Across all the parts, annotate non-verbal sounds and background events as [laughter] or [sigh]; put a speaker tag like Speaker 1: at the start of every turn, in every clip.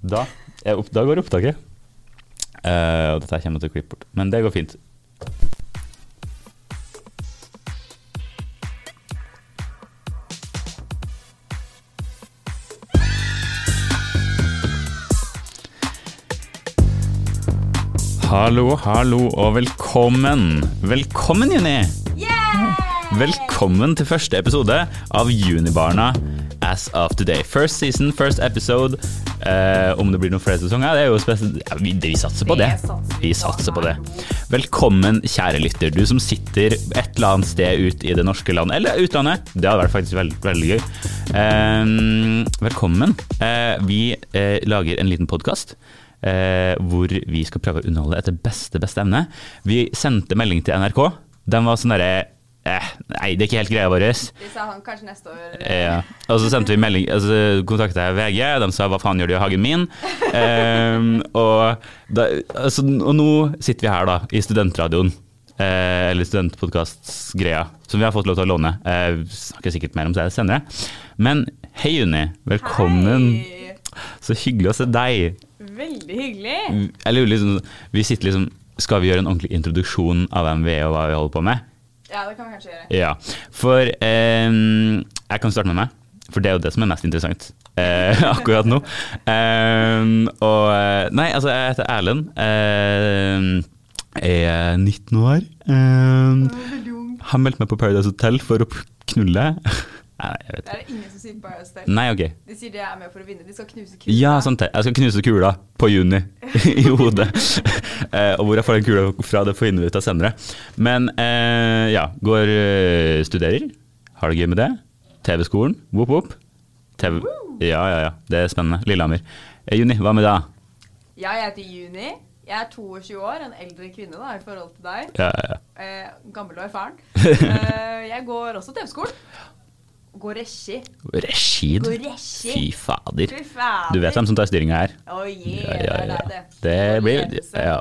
Speaker 1: da, er opp, da går opptaket. Eh, og dette kommer jeg til å klippe bort. Men det går fint. Hallo, hallo og velkommen. Velkommen, Juni. Velkommen til første episode av Junibarna As of Today. First season, first episode. Eh, om det blir noen flere sesonger, det er jo spesielt. Ja, vi, vi satser på det.
Speaker 2: Det satser vi
Speaker 1: Vi
Speaker 2: på.
Speaker 1: satser på det. Velkommen, kjære lytter. Du som sitter et eller annet sted ute i det norske land, eller utlandet. Det hadde vært faktisk veldig, veldig gøy. Eh, velkommen. Eh, vi eh, lager en liten podkast. Eh, hvor vi skal prøve å underholde etter beste, beste evne. Vi sendte melding til NRK. Den var sånn derre eh, Nei, det er ikke helt greia vår.
Speaker 2: De sa han kanskje neste år.
Speaker 1: Ja. Eh, Og så sendte vi melding, altså kontakta jeg VG, de sa hva faen gjør du i hagen min? Ehm, og, da, altså, og nå sitter vi her da, i studentradioen, eh, eller studentpodkastgreia, som vi har fått lov til å låne. Eh, vi snakker sikkert mer om det senere. Men hei Unni, velkommen.
Speaker 2: Hei.
Speaker 1: Så hyggelig å se deg.
Speaker 2: Veldig hyggelig.
Speaker 1: Jeg lurer liksom, vi sitter liksom, skal vi gjøre en ordentlig introduksjon av hvem vi er og hva vi holder på med?
Speaker 2: Ja, det kan vi kanskje gjøre.
Speaker 1: Ja, for ehm, jeg kan starte med meg, for det er jo det som er mest interessant eh, [laughs] akkurat nå. Ehm, og eh, Nei, altså, jeg heter Erlend. ehm, er 19 år. ehm,
Speaker 2: Mm,
Speaker 1: har meldt meg på Paradise Hotel for å p- knulle. [laughs] nei, jeg vet
Speaker 2: Det
Speaker 1: ikke.
Speaker 2: er det ingen som sier bare oss
Speaker 1: Nei, ok.
Speaker 2: De sier de er med for å vinne. De skal knuse kula.
Speaker 1: Mm. Ja, sant det. Jeg skal knuse kula på juni [laughs] i hodet. Eh, og hvor jeg får den kula fra, det finner vi ut av senere. Men eh, ja, går eh, studerer. Har det gøy med det. TV-skolen, whoop whoop. TV ja, ja, ja. Det er spennende. Lillehammer. Eh, juni, hva med deg?
Speaker 2: Ja, jeg heter Juni. Jeg er 22 år, en eldre kvinne da, i forhold til deg.
Speaker 1: Ja, ja, ja.
Speaker 2: Eh, gammel og erfaren. Eh, jeg går også TV-skolen. Går regi.
Speaker 1: Reshid.
Speaker 2: Går regi.
Speaker 1: Fy fader.
Speaker 2: Fy fader.
Speaker 1: Du vet hvem som tar styringa her.
Speaker 2: Å, yeah,
Speaker 1: Ja, ja, ja.
Speaker 2: det er deg, det.
Speaker 1: Det blir
Speaker 2: Ledelse.
Speaker 1: ja.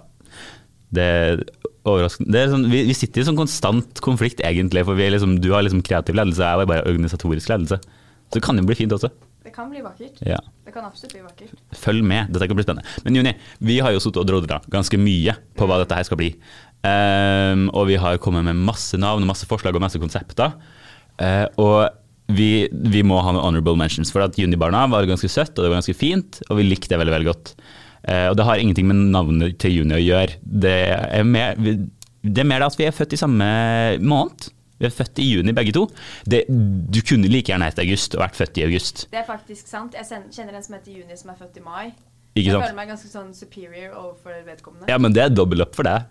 Speaker 1: Det er overraskende. Det er sånn, vi, vi sitter i sånn konstant konflikt, egentlig. For vi er liksom, du har liksom kreativ ledelse, og jeg har bare organisatorisk ledelse. Så det kan jo bli fint også.
Speaker 2: Det kan bli vakkert.
Speaker 1: Ja.
Speaker 2: Det kan absolutt bli vakkert.
Speaker 1: Følg med, dette kan bli spennende. Men Juni, vi har jo sittet og drodla ganske mye på hva dette her skal bli. Ehm, og vi har kommet med masse navn, og masse forslag og masse konsepter. Eh, og vi, vi må ha noen honorable mentions, for at Junibarna var ganske søtt, og det var ganske fint, og vi likte det veldig, veldig godt. Eh, og det har ingenting med navnet til Juni å gjøre. Det er mer, vi- det er mer det at vi er født i samme måned. Vi er født i juni begge to. Det, du kunne like gjerne hett august og vært født i august.
Speaker 2: Det er faktisk sant. Jeg sen- kjenner en som heter Juni, som er født i mai.
Speaker 1: Ikke
Speaker 2: jeg
Speaker 1: sant?
Speaker 2: føler meg ganske sånn superior overfor vedkommende.
Speaker 1: Ja, men det er dobbel opp for deg,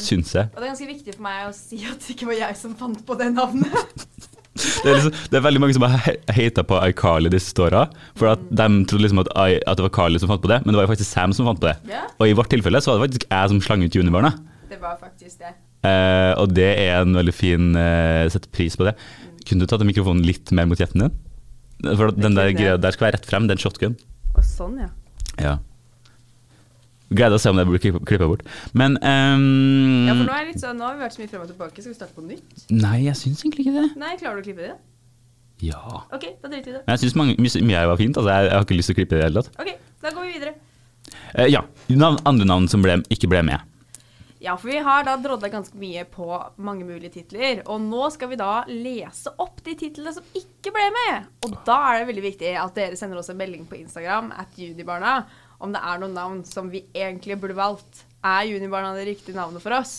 Speaker 1: syns jeg.
Speaker 2: Og det er ganske viktig for meg å si at det ikke var jeg som fant på det
Speaker 1: [laughs]
Speaker 2: navnet.
Speaker 1: Det er, liksom, det er veldig mange som har he- hata på iCarly de siste åra. For at de trodde liksom at, I, at det var Carly som fant på det, men det var jo faktisk Sam som fant på det.
Speaker 2: Ja.
Speaker 1: Og i vårt tilfelle så var det faktisk jeg som slang ut junibarna.
Speaker 2: Det var faktisk det.
Speaker 1: Eh, og det er en veldig fin uh, Sette pris på det. Kunne du tatt mikrofonen litt mer mot kjeften din? For at den der
Speaker 2: kunne jeg.
Speaker 1: greia der skal være rett frem, det er en shotgun.
Speaker 2: Og sånn, ja.
Speaker 1: Ja. Gleder å se om det blir klippa bort. Men ehm,
Speaker 2: Ja, for nå, er jeg litt sånn, nå har vi vært så mye frem og tilbake. Skal vi starte på nytt?
Speaker 1: Nei, jeg syns egentlig ikke det.
Speaker 2: Nei, klarer du å klippe det?
Speaker 1: Ja.
Speaker 2: OK, da driter vi i det.
Speaker 1: Men jeg syns mye her var fint. Altså, jeg, jeg har ikke lyst til å klippe det i det hele tatt.
Speaker 2: OK, da går vi videre.
Speaker 1: Eh, ja. Navn, andre navn som ble, ikke ble med.
Speaker 2: Ja, for vi har da drodla ganske mye på mange mulige titler. Og nå skal vi da lese opp de titlene som ikke ble med. Og da er det veldig viktig at dere sender oss en melding på Instagram at Junibarna om det er noen navn som vi egentlig burde valgt. Er Junibarna det riktige navnet for oss?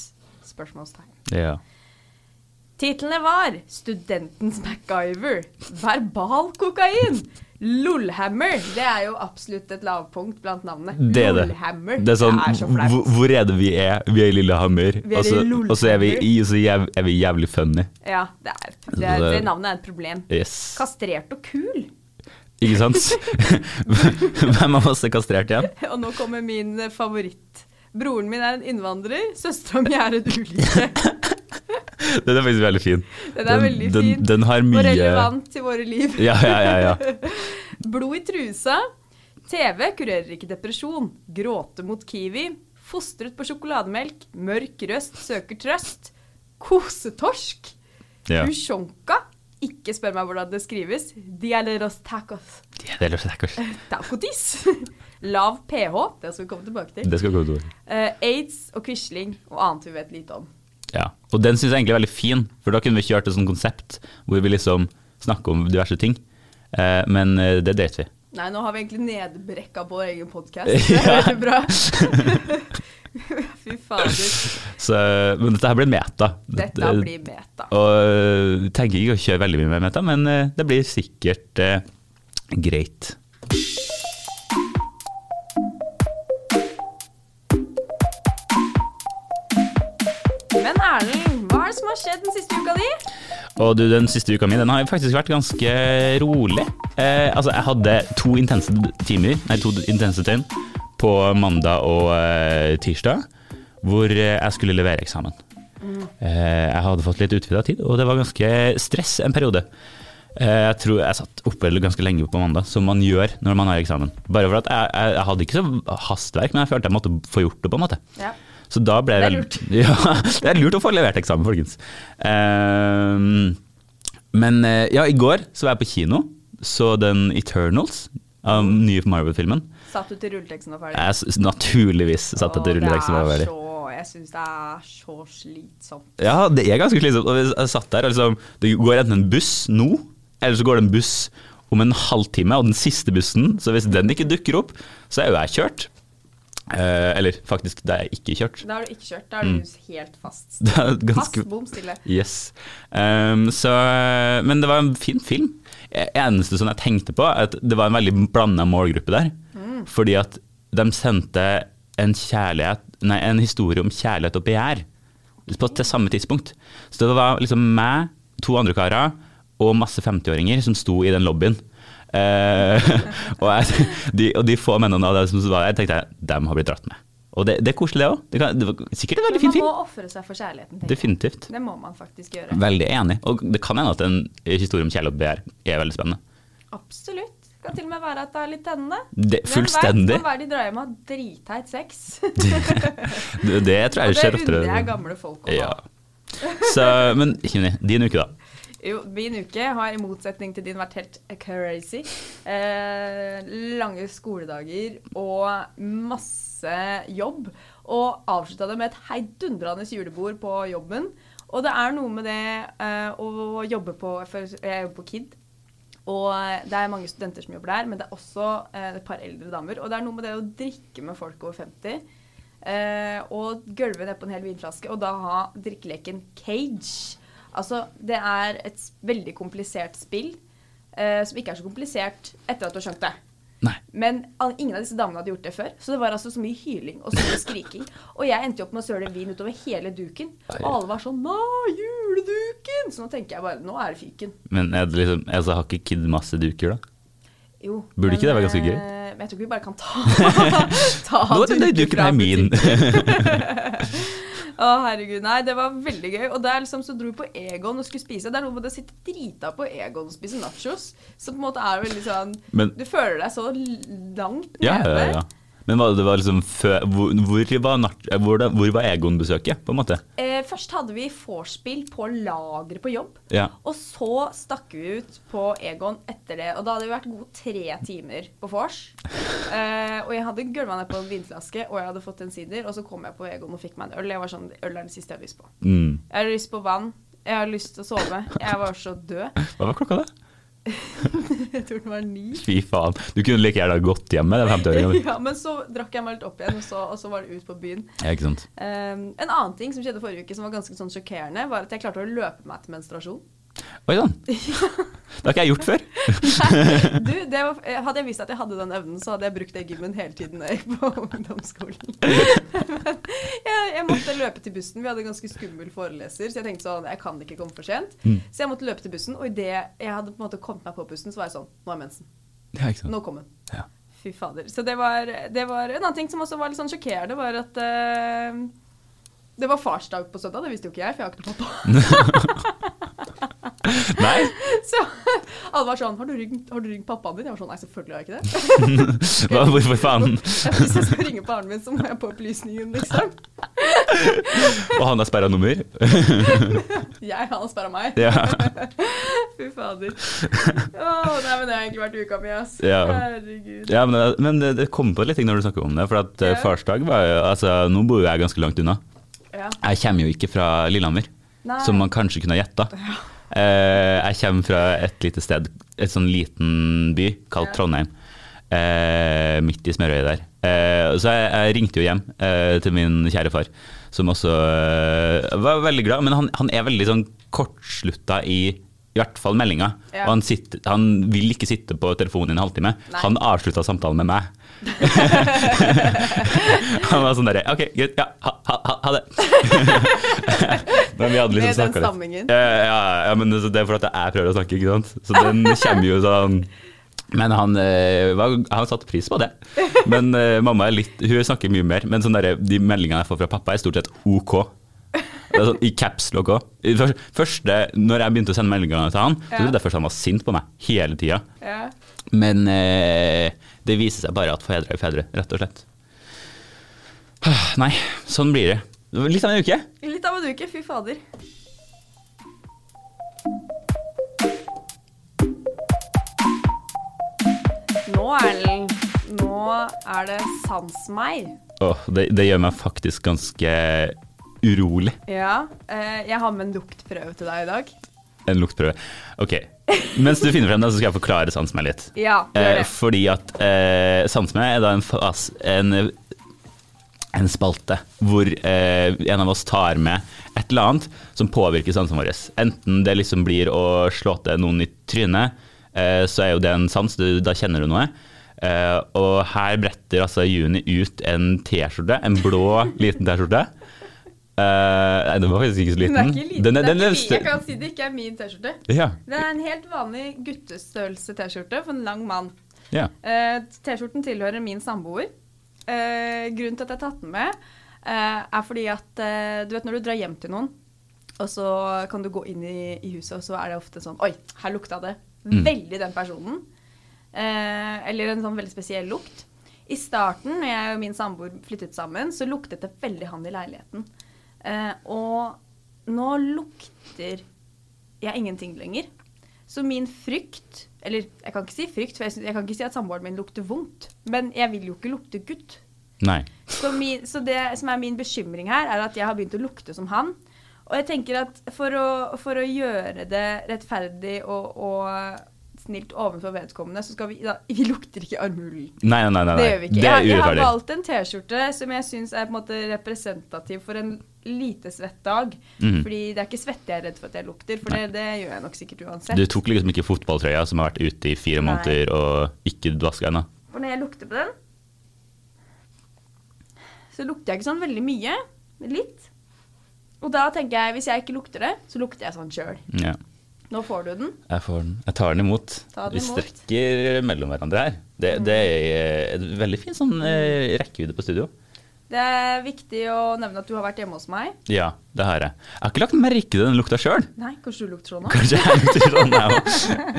Speaker 2: Spørsmålstegn.
Speaker 1: Ja.
Speaker 2: Titlene var Studentens MacGyver, Verbal kokain, Lolhammer. Det er jo absolutt et lavpunkt blant navnene.
Speaker 1: Det er det.
Speaker 2: Lolhammer.
Speaker 1: Det er sånn,
Speaker 2: så
Speaker 1: hvor,
Speaker 2: flaut.
Speaker 1: hvor er det vi er? Vi er i Lillehammer,
Speaker 2: Vi er
Speaker 1: og så,
Speaker 2: i Lolhammer.
Speaker 1: og så er vi, i, så jæv, er vi jævlig funny.
Speaker 2: Ja, det, er,
Speaker 1: Altså,
Speaker 2: det, er, det navnet er et problem.
Speaker 1: Yes.
Speaker 2: Kastrert og kul.
Speaker 1: Ikke
Speaker 2: [laughs]
Speaker 1: sant? Hvem av oss er kastrert igjen?
Speaker 2: Og nå kommer min eh, favoritt. Broren min er en innvandrer, søstera mi er et ulykke.
Speaker 1: Den er faktisk veldig fin.
Speaker 2: Den er veldig
Speaker 1: den,
Speaker 2: fin.
Speaker 1: Den har
Speaker 2: Og
Speaker 1: mye
Speaker 2: relevant til våre liv.
Speaker 1: Ja, ja, ja. ja.
Speaker 2: [laughs] Blod i trusa. TV kurerer ikke depresjon. Gråte mot kiwi. Fostret på sjokolademelk. Mørk røst søker trøst. Kosetorsk.
Speaker 1: ja.
Speaker 2: Usjonka. Ikke spør meg hvordan det skrives. Dialeros tacos.
Speaker 1: Det løser jeg ikke.
Speaker 2: Tacotis. [laughs] Lav pH, det skal vi komme tilbake til.
Speaker 1: Det skal gå utover.
Speaker 2: Eh, Aids og Quisling og annet vi vet lite om.
Speaker 1: Ja. Og den syns jeg egentlig er veldig fin, for da kunne vi kjørt et sånt konsept hvor vi liksom snakker om diverse ting. Eh, men eh, det dreit vi.
Speaker 2: Nei, nå har vi egentlig nedbrekka på vår egen podkast.
Speaker 1: Ja.
Speaker 2: Veldig
Speaker 1: [laughs]
Speaker 2: bra. Fy fader.
Speaker 1: Så, men dette her blir meta.
Speaker 2: Dette blir meta.
Speaker 1: Og eh, jeg tenker ikke å kjøre veldig mye med meta, men eh, det blir sikkert eh, greit.
Speaker 2: Men Erlend, hva er det som har skjedd den siste uka di?
Speaker 1: Og du, den siste uka mi den har jo faktisk vært ganske rolig. Eh, altså, jeg hadde to intense timer, nei, to intense døgn på mandag og eh, tirsdag, hvor eh, jeg skulle levere eksamen. Eh, jeg hadde fått litt utvida tid, og det var ganske stress en periode. Eh, jeg tror jeg satt oppe ganske lenge på mandag, som man gjør når man har eksamen. Bare for at jeg, jeg, jeg hadde ikke så hastverk, men jeg følte jeg måtte få gjort det, på en måte.
Speaker 2: Ja.
Speaker 1: Så da ble
Speaker 2: Det er
Speaker 1: jeg veldig- [laughs] Ja, det er lurt å få levert eksamen, folkens. Ehm, men eh, ja, i går så var jeg på kino, så den Eternals, um, nye Marvel-filmen.
Speaker 2: Satt du til rulleteksten var ferdig?
Speaker 1: Jeg s- naturligvis satt etter
Speaker 2: Åh,
Speaker 1: rulleteksten var
Speaker 2: det er
Speaker 1: ferdig.
Speaker 2: så- Jeg syns det er så slitsomt.
Speaker 1: Ja, det er ganske slitsomt. Og jeg satt der, og liksom, det går enten en buss nå, eller så går det en buss om en halvtime, og den siste bussen, så hvis den ikke dukker opp, så er jo jeg kjørt. Eh, eller faktisk, det er jeg ikke kjørt. [laughs]
Speaker 2: Da har du ikke kjørt. Da er du helt fast.
Speaker 1: Mm. Det er ganske...
Speaker 2: Fast bom stille.
Speaker 1: Yes. Ehm, så, men det var en fin film. Det eneste som jeg tenkte på, er at det var en veldig blanda målgruppe der. Fordi at de sendte en, kjærlighet, nei, en historie om kjærlighet og begjær på, til samme tidspunkt. Så det var liksom meg, to andre karer og masse 50-åringer som sto i den lobbyen. Eh, [laughs] og, jeg, de, og de få mennene av det som var der, tenkte jeg, dem har blitt dratt med. Og det, det er koselig, det òg. Det, kan- det var sikkert en veldig fin
Speaker 2: Men
Speaker 1: film.
Speaker 2: man må ofre seg for kjærligheten. tenker jeg.
Speaker 1: Definitivt.
Speaker 2: Det må man faktisk gjøre.
Speaker 1: Veldig enig. Og det kan hende at en historie om kjærlighet og begjær er veldig spennende.
Speaker 2: Absolutt. Det kan til og med være at det er litt tennende.
Speaker 1: Det, fullstendig.
Speaker 2: Hvem vet hva er det de drar hjem av dritteit sex? Og
Speaker 1: Det, [laughs] det tror jeg
Speaker 2: det
Speaker 1: skjer
Speaker 2: unner jeg
Speaker 1: oftere.
Speaker 2: gamle folk å ha.
Speaker 1: Ja. [laughs] Så, men Kimni, din uke, da.
Speaker 2: Jo, min uke har i motsetning til din vært helt crazy. Eh, lange skoledager og masse jobb. Og avslutta det med et heidundrende julebord på jobben. Og det er noe med det eh, å jobbe på for Jeg jobber på KID. Og det er mange studenter som jobber der, men det er også eh, et par eldre damer. Og det er noe med det å drikke med folk over 50. Eh, og gulve ned på en hel vinflaske, og da ha drikkeleken cage. Altså, det er et s- veldig komplisert spill, eh, som ikke er så komplisert etter at du har skjønt det.
Speaker 1: Nei.
Speaker 2: Men all- ingen av disse damene hadde gjort det før, så det var altså så mye hyling og så mye skriking. Og jeg endte jo opp med å søle vin utover hele duken, og alle var sånn 'Nei, juleduken!' Så nå tenker jeg bare 'Nå er det fyken'.
Speaker 1: Men er det liksom, altså, har ikke Kid masse duker, da?
Speaker 2: Jo,
Speaker 1: Burde ikke det være ganske
Speaker 2: eh,
Speaker 1: greit?
Speaker 2: Men jeg tror ikke vi bare kan
Speaker 1: [laughs]
Speaker 2: ta, ta
Speaker 1: Nå er den duken
Speaker 2: fra
Speaker 1: er min!
Speaker 2: butikken. Å, herregud. Nei, det var veldig gøy. Og der liksom så dro vi på Egon og skulle spise. Det er noe med det å sitte drita på Egon og spise nachos, som på en måte er veldig sånn
Speaker 1: Men-
Speaker 2: Du føler deg så langt
Speaker 1: [laughs]
Speaker 2: nede.
Speaker 1: Ja, ja, ja. Men var det, det var liksom før, hvor, hvor, var nat- hvor, da- hvor var Egon-besøket, på en måte?
Speaker 2: Eh, først hadde vi vorspiel på lageret på jobb.
Speaker 1: Ja.
Speaker 2: Og så stakk vi ut på Egon etter det. Og da hadde vi vært gode tre timer på vors. Eh, og jeg hadde gølva ned på en vinflaske, og jeg hadde fått en sider. Og så kom jeg på Egon og fikk meg en øl. Jeg var sånn, Øl er det siste jeg har lyst på.
Speaker 1: Mm.
Speaker 2: Jeg har lyst på vann. Jeg har lyst til å sove. Jeg var så død. [laughs]
Speaker 1: Hva var klokka, da?
Speaker 2: Jeg tror den var ni.
Speaker 1: Fy faen. Du kunne like gjerne gått hjem med den 50-åringen.
Speaker 2: Ja, men så drakk jeg meg litt opp igjen, og så, og så var det ut på byen.
Speaker 1: [laughs] Ja, ikke sant.
Speaker 2: Um, en annen ting som skjedde forrige uke som var ganske sånn sjokkerende, var at jeg klarte å løpe meg til menstruasjon.
Speaker 1: Oi
Speaker 2: [laughs]
Speaker 1: sann. Det har ikke jeg gjort før.
Speaker 2: Du, det var, eh, hadde jeg visst at jeg hadde den evnen, så hadde jeg brukt det gymmen hele tiden jeg gikk på [laughs] ungdomsskolen. [laughs] Men jeg, jeg måtte løpe til bussen. Vi hadde en ganske skummel foreleser, så jeg tenkte sånn, jeg kan ikke komme for sent. Så jeg måtte løpe til bussen, og idet jeg hadde på en måte kommet meg på bussen, så var jeg sånn, nå er mensen.
Speaker 1: Ja, ikke sant.
Speaker 2: Nå kom hun.
Speaker 1: Ja.
Speaker 2: Fy fader. Så det var, det var En annen ting som også var litt sånn sjokkerende, var at eh, det var farsdag på søndag. Det visste jo ikke jeg, for jeg har ikke noe pappa.
Speaker 1: Nei?
Speaker 2: Så [laughs] alle var sånn Har du ringt, har du ringt pappaen din? Jeg var sånn Nei, selvfølgelig har jeg ikke det.
Speaker 1: Hva, hvorfor faen?
Speaker 2: [laughs] Hvis jeg skal ringe faren min, så må jeg på opplysningen, liksom.
Speaker 1: Og han har sperra nummer?
Speaker 2: Jeg, han sperra meg.
Speaker 1: Ja.
Speaker 2: Fy fader. Åh, nei, men det har egentlig vært uka mi, ass.
Speaker 1: Ja.
Speaker 2: Herregud.
Speaker 1: Ja, men, det- men det, det kom på litt ting når du snakker om det. For at eh,
Speaker 2: Ja.
Speaker 1: farsdag var jo Altså, nå bor jo jeg ganske langt unna.
Speaker 2: Ja.
Speaker 1: Jeg kommer jo ikke fra Lillehammer,
Speaker 2: Nei.
Speaker 1: som man kanskje kunne ha gjetta. Eh, jeg kommer fra et lite sted, et sånn liten by kalt
Speaker 2: Ja.
Speaker 1: Trondheim. eh, midt i smørøyet der. Eh, så jeg, jeg ringte jo hjem eh, til min kjære far, som også eh, var veldig glad. Men han, han er veldig sånn kortslutta i i hvert fall meldinga.
Speaker 2: Ja.
Speaker 1: Og han, sitter, han vil ikke sitte på telefonen i en halvtime.
Speaker 2: Nei.
Speaker 1: Han avslutta samtalen med
Speaker 2: [laughs]
Speaker 1: meg. [laughs] han var sånn derre OK, greit. Ja, ha, ha, ha- ha det. Men vi hadde liksom
Speaker 2: Med den
Speaker 1: snakket litt.
Speaker 2: stammingen.
Speaker 1: Ja, ja, ja, men altså, det det er fordi at jeg prøver å snakke, ikke sant. Så den kommer jo sånn. Men han, eh, var, han satte pris på det. Men eh, mamma er litt, hun snakker mye mer. Men sånn derre- de meldingene jeg får fra pappa, er stort sett OK. Det er sånn, I caps lock òg. Første, når jeg begynte å sende meldinger til han, så
Speaker 2: Ja.
Speaker 1: trodde jeg først han var sint på meg hele tida.
Speaker 2: Ja.
Speaker 1: Men eh, det viser seg bare at fedre er fedre, rett og slett. [sighs] Nei, sånn blir det. Litt av en uke.
Speaker 2: Litt av en uke, fy fader. Nå, Erlend, nå er det sans meg.
Speaker 1: Åh, det, det gjør meg faktisk ganske urolig,
Speaker 2: Ja, eh, jeg har med en luktprøve til deg i dag.
Speaker 1: en luktprøve. Ok, mens du finner frem den, så skal jeg forklare sansme litt.
Speaker 2: Ja, gjør
Speaker 1: Eh,
Speaker 2: det.
Speaker 1: fordi at eh, sansme er da en, fas, en, en spalte hvor eh, en av oss tar med et eller annet som påvirker sansene våre. Enten det liksom blir å slå til noen i trynet, eh, så er jo det en sans, du, da kjenner du noe. Eh, og her bretter altså Juni ut en T-skjorte, en blå liten T-skjorte. Eh, nei, den var faktisk ikke så liten.
Speaker 2: Den er ikke liten.
Speaker 1: Den er- den
Speaker 2: det er
Speaker 1: er
Speaker 2: ikke, min- jeg kan si det ikke er min T-skjorte.
Speaker 1: Ja,
Speaker 2: Det er en helt vanlig guttestørrelse T-skjorte for en lang mann.
Speaker 1: ja.
Speaker 2: Eh, T-skjorten tilhører min samboer. Eh, grunnen til at jeg har tatt den med, eh, er fordi at eh, du vet når du drar hjem til noen, og så kan du gå inn i, i huset, og så er det ofte sånn Oi, her lukta det veldig den personen. Eh, eller en sånn veldig spesiell lukt. I starten, når jeg og min samboer flyttet sammen, så luktet det veldig han i leiligheten. Eh, og nå lukter jeg ingenting lenger. Så min frykt Eller jeg kan ikke si frykt, for jeg, syns- jeg kan ikke si at samboeren min lukter vondt. Men jeg vil jo ikke lukte gutt.
Speaker 1: Nei.
Speaker 2: Så, min, så det som er min bekymring her, er at jeg har begynt å lukte som han. Og jeg tenker at for å, for å gjøre det rettferdig og, og snilt overfor vedkommende, så skal vi da, [laughs] Vi lukter ikke i armhulen.
Speaker 1: Nei, nei, nei, nei.
Speaker 2: Det gjør vi ikke.
Speaker 1: Det er
Speaker 2: jeg, jeg har
Speaker 1: urettferdig.
Speaker 2: valgt en T-skjorte som jeg syns er på en måte representativ for en lite svett dag.
Speaker 1: Mhm.
Speaker 2: Fordi det er ikke svette jeg er redd for at jeg lukter, for det, det gjør jeg nok sikkert uansett.
Speaker 1: Du tok liksom ikke fotballtrøya som har vært ute i fire
Speaker 2: Nei.
Speaker 1: måneder og ikke vaska ennå.
Speaker 2: For når jeg lukter på den, så lukter jeg ikke sånn veldig mye. Litt. Og da tenker jeg, hvis jeg ikke lukter det, så lukter jeg sånn sjøl.
Speaker 1: Ja.
Speaker 2: Nå får du den.
Speaker 1: Jeg, får den. jeg tar den imot.
Speaker 2: Ta den
Speaker 1: Vi
Speaker 2: imot.
Speaker 1: strekker mellom hverandre her. Det, det er
Speaker 2: Mm.
Speaker 1: en veldig fin sånn eh, rekkevidde på studio.
Speaker 2: Det er viktig å nevne at du har vært hjemme hos meg.
Speaker 1: Ja, det har jeg. Jeg har ikke lagt merke til den lukta sjøl.
Speaker 2: Nei, kanskje du lukter sånn nå?
Speaker 1: [laughs] Kanskje jeg lukter sånn, jeg òg.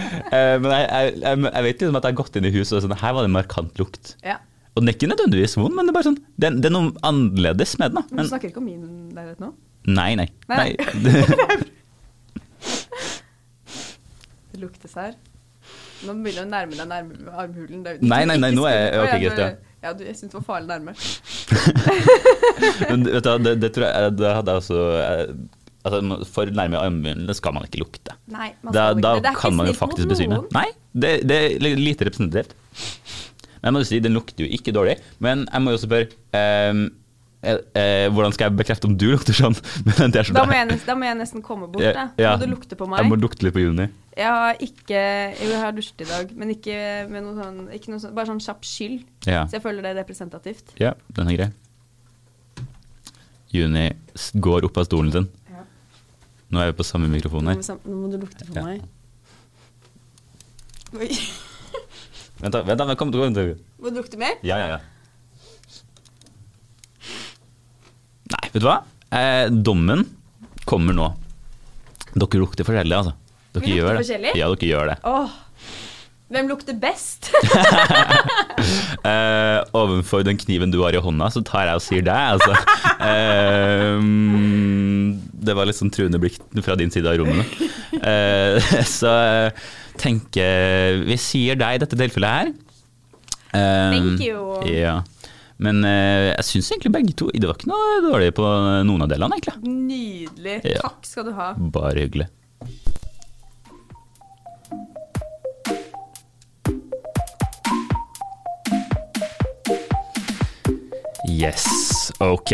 Speaker 2: [laughs]
Speaker 1: Men jeg, jeg, jeg, jeg vet liksom at jeg har gått inn i huset og sånn Her var det en markant lukt.
Speaker 2: Ja.
Speaker 1: Og den er ikke nødvendigvis vond, men det er bare sånn Det, er- det er noe annerledes med den, da.
Speaker 2: Men du
Speaker 1: Men,
Speaker 2: snakker ikke om min leilighet nå?
Speaker 1: nei, nei.
Speaker 2: Nei,
Speaker 1: nei. [laughs]
Speaker 2: Det luktes her. Nå begynner du å nærme deg nærme armhulen. Det er jo-
Speaker 1: Nei, nei, nei,
Speaker 2: Ikke
Speaker 1: nå er jeg-
Speaker 2: skummelt.
Speaker 1: ok,
Speaker 2: Å,
Speaker 1: greit, ja.
Speaker 2: Ja, du, jeg syns det var farlig nærme.
Speaker 1: Men vet du, hva, det, det tror jeg det hadde jeg også eh, altså, For nærme armhulen det skal man ikke lukte.
Speaker 2: Nei, man
Speaker 1: Da, da
Speaker 2: skal ikke det. Det er ikke
Speaker 1: kan man jo
Speaker 2: snilt mot
Speaker 1: faktisk besvime.
Speaker 2: noen.
Speaker 1: Nei, det, det er li- lite representativt. Men jeg må jo si, den lukter jo ikke dårlig. Men jeg må jo også spørre ehm, eh, eh, Hvordan skal jeg bekrefte om du lukter sånn [laughs] med den T-skjorta?
Speaker 2: Da må, jeg, nes- da må jeg nesten komme bort. Da.
Speaker 1: Ja.
Speaker 2: Må du lukte på meg.
Speaker 1: Jeg må lukte litt på Juni.
Speaker 2: Jeg har ikke Jo, jeg har dusjet i dag, men ikke med noe sånn, ikke noe sånn Bare sånn kjapp skyld.
Speaker 1: Ja.
Speaker 2: Så jeg føler det er representativt.
Speaker 1: ja, den er grei. Juni s- går opp av stolen sin.
Speaker 2: Ja.
Speaker 1: Nå er vi på samme mikrofon
Speaker 2: Nå,
Speaker 1: her.
Speaker 2: må sam- nå må du lukte på
Speaker 1: Ja.
Speaker 2: meg. Oi. [laughs]
Speaker 1: Vent, da. vent da, kom, kom, kom.
Speaker 2: Må du lukte mer?
Speaker 1: Ja, ja, ja. Nei, vet du hva? Eh, dommen kommer nå. Dere lukter forskjellig, altså. Dere
Speaker 2: Vi lukter
Speaker 1: gjør det.
Speaker 2: forskjellig?
Speaker 1: Ja, dere gjør det.
Speaker 2: Åh. Hvem lukter best? [laughs]
Speaker 1: Eh, ovenfor den kniven du har i hånda, så tar jeg og sier deg, altså. Ehm, det var litt sånn truende blikk fra din side av rommet. Eh, [laughs] så eh, tenker Vi sier deg i dette tilfellet her. Ehm,
Speaker 2: Thank you.
Speaker 1: Ja. Men eh, jeg syns egentlig begge to Det var ikke noe dårlig på noen av delene, egentlig.
Speaker 2: Nydelig.
Speaker 1: Ja.
Speaker 2: Takk skal du ha.
Speaker 1: Bare hyggelig. Yes, ok.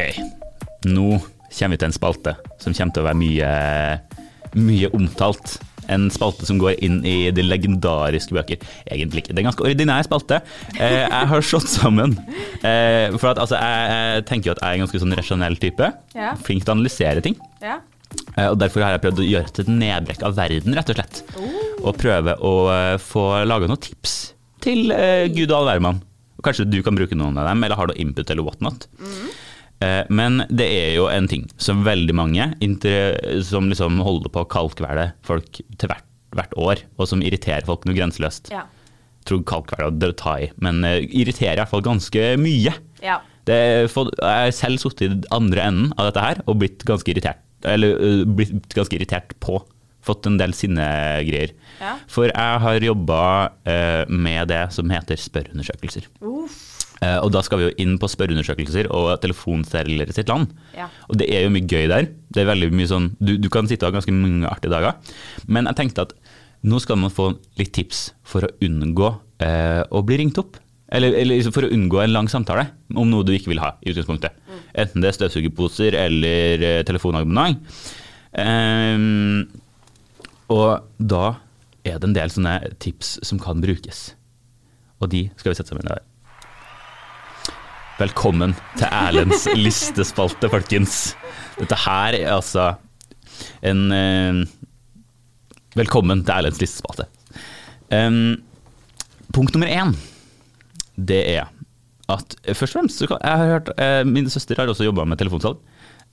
Speaker 1: Nå kommer vi til en spalte som kommer til å være mye, mye omtalt. En spalte som går inn i de legendariske bøker. Egentlig ikke. Det er en ganske ordinær spalte. Eh, jeg har slått sammen. Eh, for at, altså, jeg, jeg tenker jo at jeg er en ganske sånn rasjonell type.
Speaker 2: Ja.
Speaker 1: Flink til å analysere ting.
Speaker 2: Ja.
Speaker 1: Eh, Og Derfor har jeg prøvd å gjøre det til et nedbrekk av verden, rett og slett. Og prøve å eh, få laga noen tips til eh, gud og all hvermann. Og Kanskje du kan bruke noen av dem, eller har du input eller whatnot. Eh, Men det er jo en ting som veldig mange inter- som liksom holder på å kalkvele folk til hvert, hvert år, og som irriterer folk noe grenseløst.
Speaker 2: Ja.
Speaker 1: Tror kalkvele er å ta i, men eh, irriterer i hvert fall ganske mye.
Speaker 2: ja.
Speaker 1: Det, er for, jeg har selv sittet i den andre enden av dette her og blitt ganske irritert. Eller øh, blitt ganske irritert på. Fått en del sinnegreier.
Speaker 2: Ja.
Speaker 1: For jeg har jobba eh, med det som heter spørreundersøkelser.
Speaker 2: Uff.
Speaker 1: Eh, og da skal vi jo inn på spørreundersøkelser og telefonselgere sitt land.
Speaker 2: Ja.
Speaker 1: Og det er jo mye gøy der. Det er veldig mye sånn, du, du kan sitte og ha ganske mange artige dager. Men jeg tenkte at nå skal man få litt tips for å unngå eh, å bli ringt opp. Eller, eller liksom for å unngå en lang samtale om noe du ikke vil ha. i utgangspunktet. Enten det er støvsugerposer eller eh, telefonabonnement. Ehm, og da er det en del sånne tips som kan brukes. Og de skal vi sette sammen i dag. Velkommen til Erlends listespalte, folkens. Dette her er altså en eh, Velkommen til Erlends listespalte. Em, punkt nummer én, det er at eh, først og fremst så kan, Jeg har hørt eh, Min søster har også jobba med telefonsalg.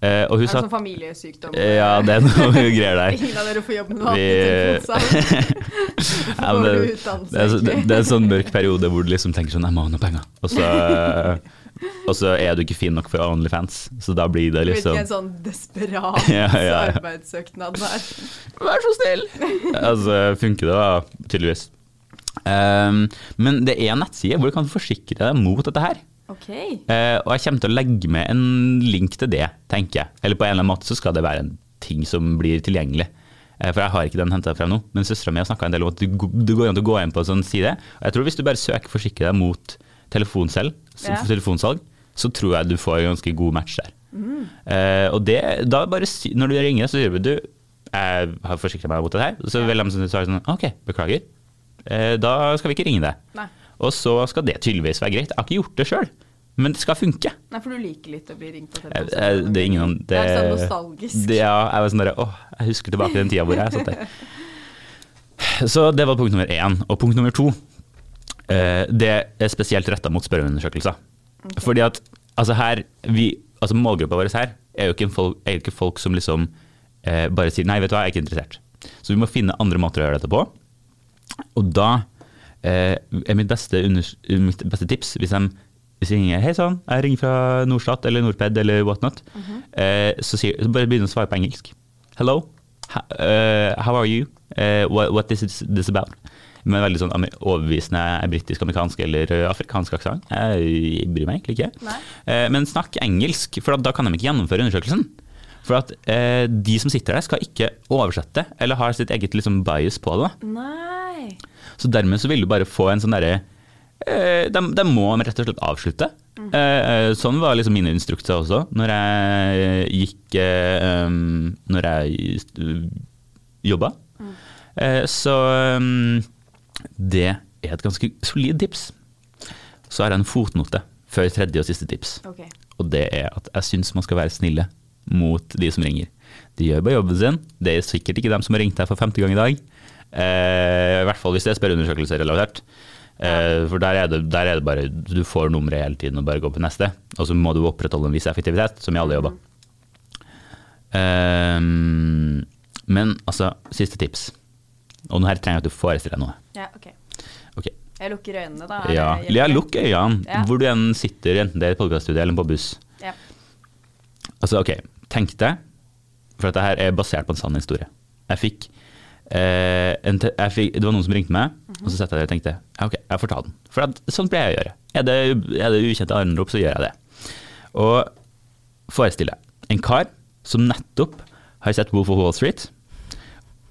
Speaker 1: eh, og hun
Speaker 2: Er det
Speaker 1: sa eh,
Speaker 2: sånn familiesykdom?
Speaker 1: Ja, det er noe greier der.
Speaker 2: [laughs] Ingen av dere får jobb med noe
Speaker 1: Vi-
Speaker 2: annet. [laughs] enn
Speaker 1: [laughs] Ja, men
Speaker 2: Dårlig
Speaker 1: det,
Speaker 2: utdannelse,
Speaker 1: det, er, så- det,
Speaker 2: egentlig.
Speaker 1: det er en sånn mørk periode hvor du liksom tenker sånn Jeg må ha noe penger. Og så,
Speaker 2: [laughs]
Speaker 1: og så er du ikke fin nok for Onlyfans, så da blir det
Speaker 2: Liksom.
Speaker 1: liksom
Speaker 2: en sånn
Speaker 1: [laughs]
Speaker 2: desperat
Speaker 1: Ja, ja, ja.
Speaker 2: arbeidssøknad der.
Speaker 1: Vær så snill! [laughs] altså, funker det da, tydeligvis. Ehm, men det er en nettside hvor du kan forsikre deg mot dette her.
Speaker 2: Ok.
Speaker 1: Eh, og jeg kommer til å legge med en link til det, tenker jeg. Eller på en eller annen måte så skal det være en ting som blir tilgjengelig. Eh, for jeg har ikke den henta frem nå, men søstera mi har snakka en del om at det g- det går an å gå inn på en sånn side. Og jeg tror hvis du bare søker forsikre deg mot telefonselg, så-
Speaker 2: Ja.
Speaker 1: telefonsalg, så tror jeg du får en ganske god match der. Eh, og det, da bare, si- når du ringer, så sier du du, jeg har forsikra meg mot det her. Så vil de svare sånn OK, beklager. Eh, da skal vi ikke ringe deg.
Speaker 2: Nei.
Speaker 1: Og så skal det tydeligvis være greit. Jeg har ikke gjort det sjøl, men det skal funke.
Speaker 2: Nei, for du liker litt å bli ringt på
Speaker 1: Jeg-
Speaker 2: telefonen.
Speaker 1: jeg- Det er ingen an-
Speaker 2: Det er sånn nostalgisk.
Speaker 1: Det, ja, jeg var sånn der, åh, jeg husker tilbake til den tida hvor jeg satt der. Så det var punkt nummer én. Og punkt nummer to, eh, det er spesielt retta mot spørreundersøkelser. Fordi at altså her, vi, altså målgruppa vår her er jo ikke, en folk, er jo ikke folk som liksom eh, bare sier nei, vet du hva, jeg er ikke interessert. Så vi må finne andre måter å gjøre dette på. Og da eh, er mitt beste, unders- mitt beste tips hvis de hvis de ringer hei sann, jeg ringer fra Norstat eller Norped eller whatnot, eh, så, sier, så bare begynner de å svare på engelsk. Hello, ha, eh, how are you, Eh, what, what is this, this about? Med veldig sånn amer- overbevisende britisk, amerikansk eller eh, afrikansk aksent. Jeg bryr meg egentlig ikke.
Speaker 2: Nei.
Speaker 1: Eh, men snakk engelsk, for da kan de ikke gjennomføre undersøkelsen. For at eh, de som sitter der skal ikke oversette eller har sitt eget liksom, bias på det. da.
Speaker 2: Nei.
Speaker 1: Så dermed så vil du bare få en sånn derre eh, de, de må rett og slett avslutte. Eh, eh, sånn var liksom mine instrukser også når jeg eh, gikk eh, um, Når jeg st- jobba. Eh, så um, det er et ganske solid tips. Så har jeg en fotnote før tredje og siste tips.
Speaker 2: Ok.
Speaker 1: Og det er at jeg syns man skal være snille mot de som ringer. De gjør bare jobben sin. Det er sikkert ikke dem som har ringt deg for femte gang i dag. Eh, I hvert fall hvis det er spørreundersøkelser relatert. Eh, for der er, det, der er det bare du får nummeret hele tiden og bare går på neste. Og så må du opprettholde en viss effektivitet, som i alle jobber. Eh, men altså, siste tips. Og nå her trenger jeg at du forestiller deg noe.
Speaker 2: Ja, ok.
Speaker 1: Ok.
Speaker 2: Jeg lukker øynene, da.
Speaker 1: Ja,
Speaker 2: Jeg-
Speaker 1: ja lukk øynene
Speaker 2: Ja.
Speaker 1: hvor du enn sitter, enten det er i et podcaststudio eller på buss.
Speaker 2: Ja.
Speaker 1: Altså, ok, tenk deg, for dette her er basert på en sann historie. Jeg fikk, eh, en te jeg fikk, det var noen som ringte meg, og så satt jeg der og tenkte, ja, ok, jeg får ta den. For at, sånn pleier jeg å gjøre. Er det, er det ukjente anrop, så gjør jeg det. Og forestille deg en kar som nettopp har sett Wolf of Wall Street,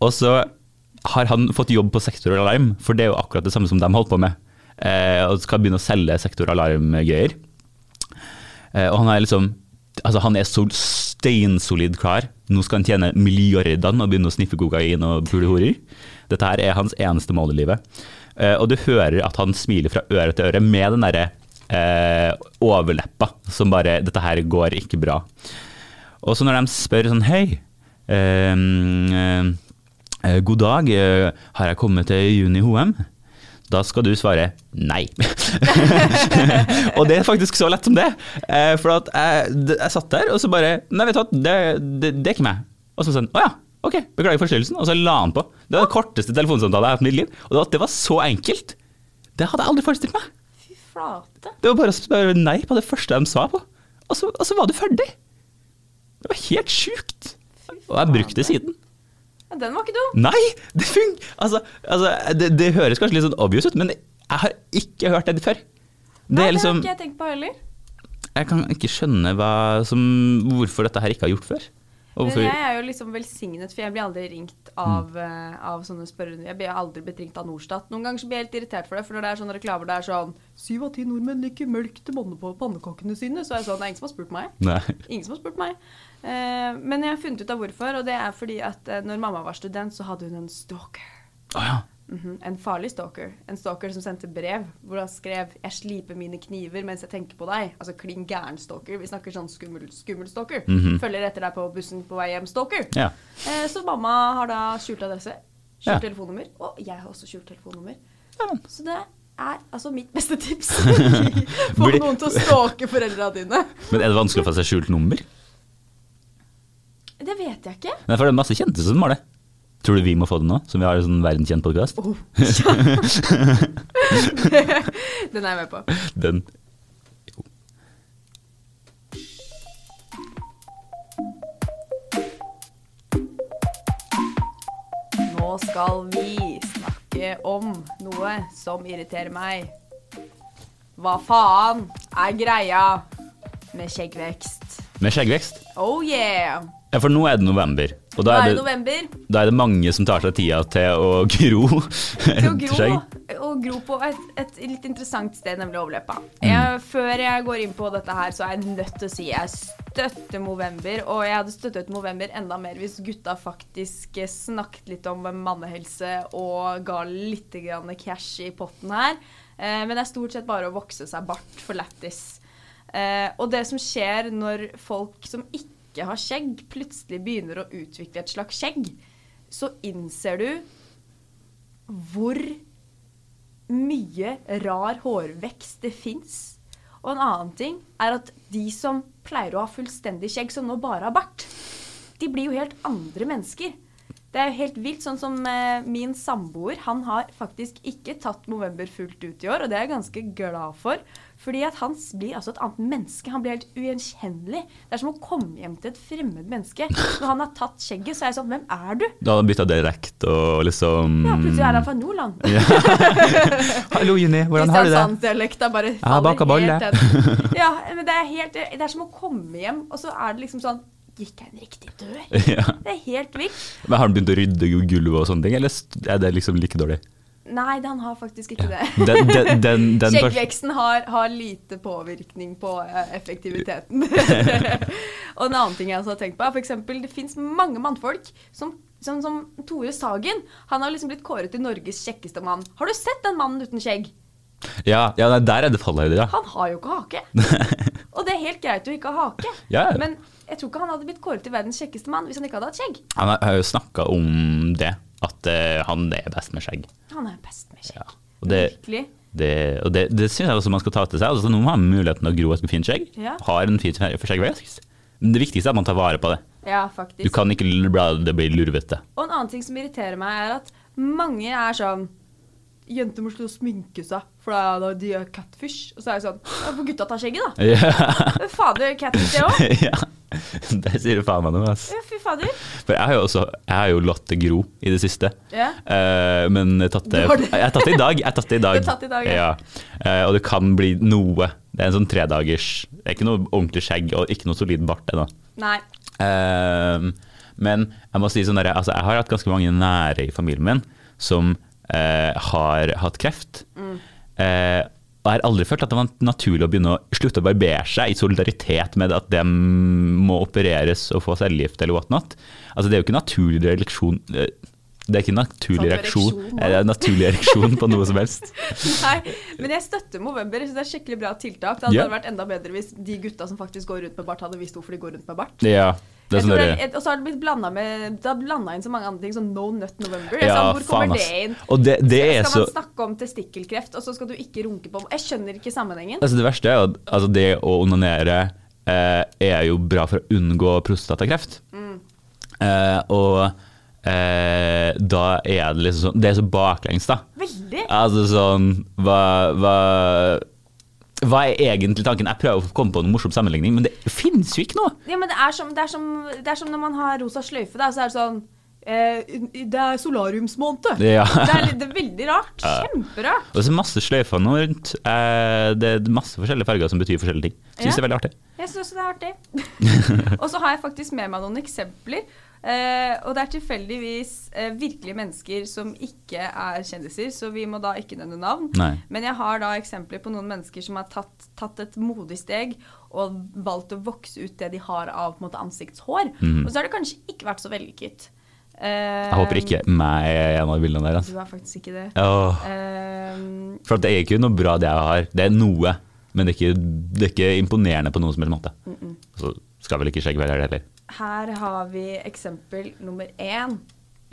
Speaker 1: og så har han fått jobb på Sektor Alarm, for det er jo akkurat det samme som de holdt på med. Eh, og skal begynne å selge Sektor Alarm-greier. Eh, og han er liksom Altså, han er så steinsolid klar. Nå skal han tjene milliardene og begynne å sniffe kokain og pule horer. Dette her er hans eneste mål i livet. Eh, og du hører at han smiler fra øre til øre med den derre eh, overleppa som bare 'Dette her går ikke bra'. Og så når de spør sånn Hei, ehm, eh, god dag, eh, har jeg kommet til Juni HM? Da skal du svare nei. [laughs] og det er faktisk så lett som det. Eh, for at jeg, d- jeg satt der, og så bare Nei, vet du hva, det, det, det er ikke meg. Og så sånn Å ja, ok, beklager forstyrrelsen. Og så la han på. Det var den korteste telefonsamtalen jeg har hatt i mitt liv. Og det var, det var så enkelt. Det hadde jeg aldri forestilt meg.
Speaker 2: Fy flate.
Speaker 1: Det var bare å spørre nei på det første de sa på. Og så, og så var du ferdig. Det var helt sjukt. Og jeg brukte det siden.
Speaker 2: Ja, den var ikke dum.
Speaker 1: Nei, det fung... Altså, altså det, det høres kanskje litt sånn obvious ut, men jeg har ikke hørt det før. Det
Speaker 2: Nei,
Speaker 1: er liksom
Speaker 2: det har ikke jeg tenkt på heller.
Speaker 1: Jeg kan ikke skjønne hva som, hvorfor dette her ikke har gjort før. Og
Speaker 2: Men
Speaker 1: hvorfor
Speaker 2: jeg er jo liksom velsignet, for jeg blir aldri ringt av, eh, av sånne spørrende. Jeg blir aldri blitt ringt av Norstat. Noen ganger så blir jeg helt irritert for det, for når det er sånne reklamer der sånn Syv av ti nordmenn liker melk til banne på pannekakene sine, så er jeg sånn Det er ingen som har spurt meg.
Speaker 1: Nei.
Speaker 2: Ingen som har spurt meg. Eh, men jeg har funnet ut av hvorfor, og det er fordi at eh, når mamma var student, så hadde hun en stalker.
Speaker 1: Å ja.
Speaker 2: Mhm, En farlig stalker. En stalker som sendte brev hvor han skrev 'Jeg sliper mine kniver mens jeg tenker på deg'. Altså klin gæren stalker. Vi snakker sånn skummel, skummel stalker.
Speaker 1: Mhm.
Speaker 2: Følger etter deg på bussen på vei hjem, stalker.
Speaker 1: ja.
Speaker 2: Eh, så mamma har da skjult adresse, skjult
Speaker 1: Ja.
Speaker 2: telefonnummer, og jeg har også skjult telefonnummer.
Speaker 1: Ja, men.
Speaker 2: Så det er altså mitt beste tips. [laughs]
Speaker 1: [laughs]
Speaker 2: Få
Speaker 1: Blir-
Speaker 2: noen til å stalke foreldra dine.
Speaker 1: Men er det vanskelig å få seg skjult nummer?
Speaker 2: Det vet jeg
Speaker 1: [laughs]
Speaker 2: ikke.
Speaker 1: Nei, for det er masse kjente som har det. Tror du vi må få det nå, som vi har en sånn verdenskjent podkast?
Speaker 2: Oh, [laughs] ja. Den er jeg med på.
Speaker 1: Den
Speaker 2: Nå skal vi snakke om noe som irriterer meg. Hva faen er greia med skjeggvekst?
Speaker 1: med skjeggvekst.
Speaker 2: Oh yeah!
Speaker 1: Ja, for nå er det november. Og
Speaker 2: Nå
Speaker 1: da
Speaker 2: er
Speaker 1: er
Speaker 2: det
Speaker 1: det,
Speaker 2: november.
Speaker 1: da er det mange som tar seg tida til å gro. [laughs]
Speaker 2: Til å
Speaker 1: et
Speaker 2: gro,
Speaker 1: skjegg.
Speaker 2: og gro på et, et litt interessant sted, nemlig overleppa. Jeg, før jeg går inn på dette her, så er jeg nødt til å si jeg støtter Movember. Og jeg hadde støttet Movember enda mer hvis gutta faktisk snakket litt om mannehelse og ga litt grann cash i potten her. Eh, Men det er stort sett bare å vokse seg bart for lættis. Eh, og det som skjer når folk som ikke har skjegg, plutselig begynner å utvikle et slags skjegg, så innser du hvor mye rar hårvekst det fins. Og en annen ting er at de som pleier å ha fullstendig skjegg, som nå bare har bart, de blir jo helt andre mennesker. Det er jo helt vilt, sånn som eh, min samboer. Han har faktisk ikke tatt Movember fullt ut i år, og det er jeg ganske glad for. Fordi at han s- blir altså et annet menneske. Han blir helt ugjenkjennelig. Det er som å komme hjem til et fremmed menneske. Når han har tatt skjegget, så er jeg sånn Hvem er du?
Speaker 1: Da har han bytta dialekt og liksom
Speaker 2: Ja, plutselig er han fra Nordland.
Speaker 1: Hallo, Juni, hvordan har du det?
Speaker 2: Kristiansandsdialekta bare
Speaker 1: har baka boll,
Speaker 2: helt
Speaker 1: jeg. [laughs]
Speaker 2: hen. Ja, men det er, helt, det er som å komme hjem, og så er det liksom sånn Gikk jeg en riktig dør?
Speaker 1: Ja.
Speaker 2: Det er helt vilt.
Speaker 1: Men Har han begynt å rydde gulvet og sånne ting, eller er det liksom like dårlig?
Speaker 2: Nei, han har faktisk ikke det.
Speaker 1: Den, den, den, den pers-
Speaker 2: Skjeggveksten har, har lite påvirkning på eh,
Speaker 1: [laughs]
Speaker 2: effektiviteten. og en annen ting jeg også har tenkt på, er f.eks. det fins mange mannfolk som som, som Tore Sagen. Han har liksom blitt kåret til Norges kjekkeste mann. Har du sett den mannen uten skjegg?
Speaker 1: Ja, ja nei, der er det fallhøyde, ja.
Speaker 2: Han har jo
Speaker 1: [laughs]
Speaker 2: ikke hake. Og det er helt greit å ikke ha hake,
Speaker 1: Ja, ja.
Speaker 2: men jeg tror ikke han hadde blitt kåret til verdens kjekkeste mann hvis han ikke hadde hatt skjegg.
Speaker 1: Han har- har jo snakka om det, at eh, han er best med skjegg.
Speaker 2: Han er best med skjegg.
Speaker 1: Ja. Og det,
Speaker 2: Virkelig.
Speaker 1: det, og det, det syns jeg også man skal ta til seg. Altså, nå har man muligheten å gro et fint skjegg.
Speaker 2: Ja.
Speaker 1: Har en fin skjeggvekst. Men det viktigste er at man tar vare på det.
Speaker 2: Ja, faktisk.
Speaker 1: Du kan ikke la det bli lurvete.
Speaker 2: Og en annen ting som irriterer meg, er at Mange er sånn Jenter må slutte å sminke seg, for da- da de er catfish. Og så er det sånn Ja, for gutta tar skjegget, da.
Speaker 1: Ja.
Speaker 2: Men Fader, catfish det òg.
Speaker 1: [laughs] ja. Det sier du faen meg noe, altså. ass.
Speaker 2: Ja, fy fader.
Speaker 1: For jeg har jo også jeg har jo latt det gro i det siste.
Speaker 2: Ja.
Speaker 1: Eh, men jeg tatt det,
Speaker 2: Du har det.
Speaker 1: jeg har tatt det i dag. Jeg har tatt det i dag.
Speaker 2: Du har tatt det i dag, ja.
Speaker 1: ja. Eh, og det kan bli noe. Det er en sånn tredagers Det er ikke noe ordentlig skjegg og ikke noe solid bart ennå.
Speaker 2: Nei.
Speaker 1: Eh, men jeg må si sånn der, altså, jeg har hatt ganske mange nære i familien min som eh, har hatt kreft.
Speaker 2: Mm.
Speaker 1: Eh, og jeg har aldri følt at det var naturlig å begynne å slutte å barbere seg i solidaritet med at de må opereres og få cellegift eller whatnot. Altså, det er jo ikke en naturlig reaksjon eh, Det er ikke en naturlig
Speaker 2: Sånn
Speaker 1: reaksjon,
Speaker 2: ereksjon, da.
Speaker 1: eh, det er en naturlig ereksjon på noe som helst.
Speaker 2: Nei, men jeg støtter Movember. Jeg synes det er skikkelig bra tiltak. Det hadde
Speaker 1: Ja.
Speaker 2: bare vært enda bedre hvis de gutta som faktisk går rundt med bart, hadde visst hvorfor de går rundt med bart.
Speaker 1: Ja, det
Speaker 2: [laughs]
Speaker 1: er
Speaker 2: Jeg
Speaker 1: sånn
Speaker 2: tror
Speaker 1: der-
Speaker 2: det er- Og så har det blitt blanda med Det har blandet inn så mange andre ting, sånn No Nut November. Jeg
Speaker 1: ja,
Speaker 2: sa, hvor
Speaker 1: faen,
Speaker 2: kommer
Speaker 1: ass.
Speaker 2: det inn?
Speaker 1: Og det, det er
Speaker 2: Skal
Speaker 1: så
Speaker 2: man snakke om testikkelkreft, og så skal du ikke runke på Jeg skjønner ikke sammenhengen.
Speaker 1: Altså det verste er jo at altså det å onanere eh, er jo bra for å unngå prostatakreft. Eh, og eh, da er det liksom sånn Det er så baklengs, da.
Speaker 2: Veldig.
Speaker 1: Altså sånn Hva, hva hva er egentlig tanken? Jeg prøver å komme på noen morsom sammenligning, men det finnes jo ikke noe!
Speaker 2: Ja, men det er som, det er som, det er som når man har rosa sløyfe, da, så er det sånn eh, Det er solariumsmåned.
Speaker 1: Ja.
Speaker 2: Det, er, litt- det er veldig rart. Kjemperart.
Speaker 1: Og så er det masse sløyfer nå rundt. Eh, det er masse forskjellige farger som betyr forskjellige ting. Syns
Speaker 2: Ja.
Speaker 1: det er veldig artig.
Speaker 2: Jeg syns det er artig.
Speaker 1: [laughs]
Speaker 2: og så har jeg faktisk med meg noen eksempler. Eh, og det er tilfeldigvis eh, virkelige mennesker som ikke er kjendiser, så vi må da ikke nevne navn.
Speaker 1: Nei.
Speaker 2: Men jeg har da eksempler på noen mennesker som har tatt, tatt et modig steg og valgt å vokse ut det de har av på en måte, ansiktshår.
Speaker 1: Mhm.
Speaker 2: Og så har det kanskje ikke vært så vellykket. Eh,
Speaker 1: Jeg håper ikke meg er en av bildene der.
Speaker 2: Du er faktisk ikke det.
Speaker 1: Altså. Åh.
Speaker 2: Ehm,
Speaker 1: For at det er ikke noe bra det jeg har. Det er noe, men det er ikke, det er ikke imponerende på noen som helst måte. Og Så skal vel ikke skjegg være det heller.
Speaker 2: her har vi eksempel nummer én.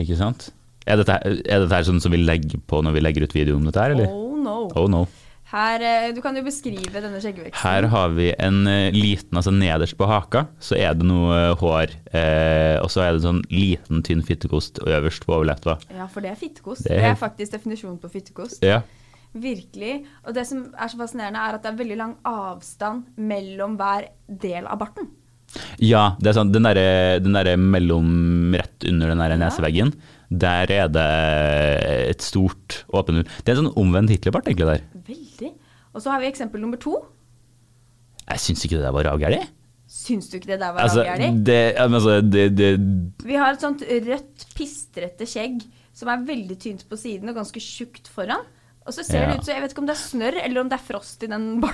Speaker 1: Ikke sant? Er dette, her- er dette her sånn som vi legger på når vi legger ut video om dette her, eller?
Speaker 2: Oh no.
Speaker 1: Oh no.
Speaker 2: Her, eh, du kan jo beskrive denne skjeggveksten.
Speaker 1: Her har vi en eh, liten, altså nederst på haka, så er det noe eh, hår, eh, og så er det sånn liten, tynn fittekost øverst på overleppa.
Speaker 2: Ja, for det er fittekost.
Speaker 1: Det
Speaker 2: Det
Speaker 1: er
Speaker 2: er,
Speaker 1: helt-
Speaker 2: faktisk definisjonen på fittekost.
Speaker 1: Ja.
Speaker 2: Virkelig. Og det som er så fascinerende, er at det er veldig lang avstand mellom hver del av barten.
Speaker 1: Ja, det er sånn, den derre der mellom rett under den der
Speaker 2: Ja.
Speaker 1: neseveggen, der er det et stort åpent hull. Det er en sånn omvendt Hitlerbart, egentlig, der.
Speaker 2: Veldig. Og så har vi eksempel nummer to.
Speaker 1: Jeg syns ikke det der var ravgæli.
Speaker 2: Syns du ikke det der var
Speaker 1: Altså,
Speaker 2: avgjørlig?
Speaker 1: det, ja, men altså, det, det
Speaker 2: Vi har et sånt rødt, pistrete skjegg som er veldig tynt på siden og ganske tjukt foran. Og så ser
Speaker 1: Ja.
Speaker 2: det ut som Jeg vet ikke om det er snørr eller om det er frost i den barten,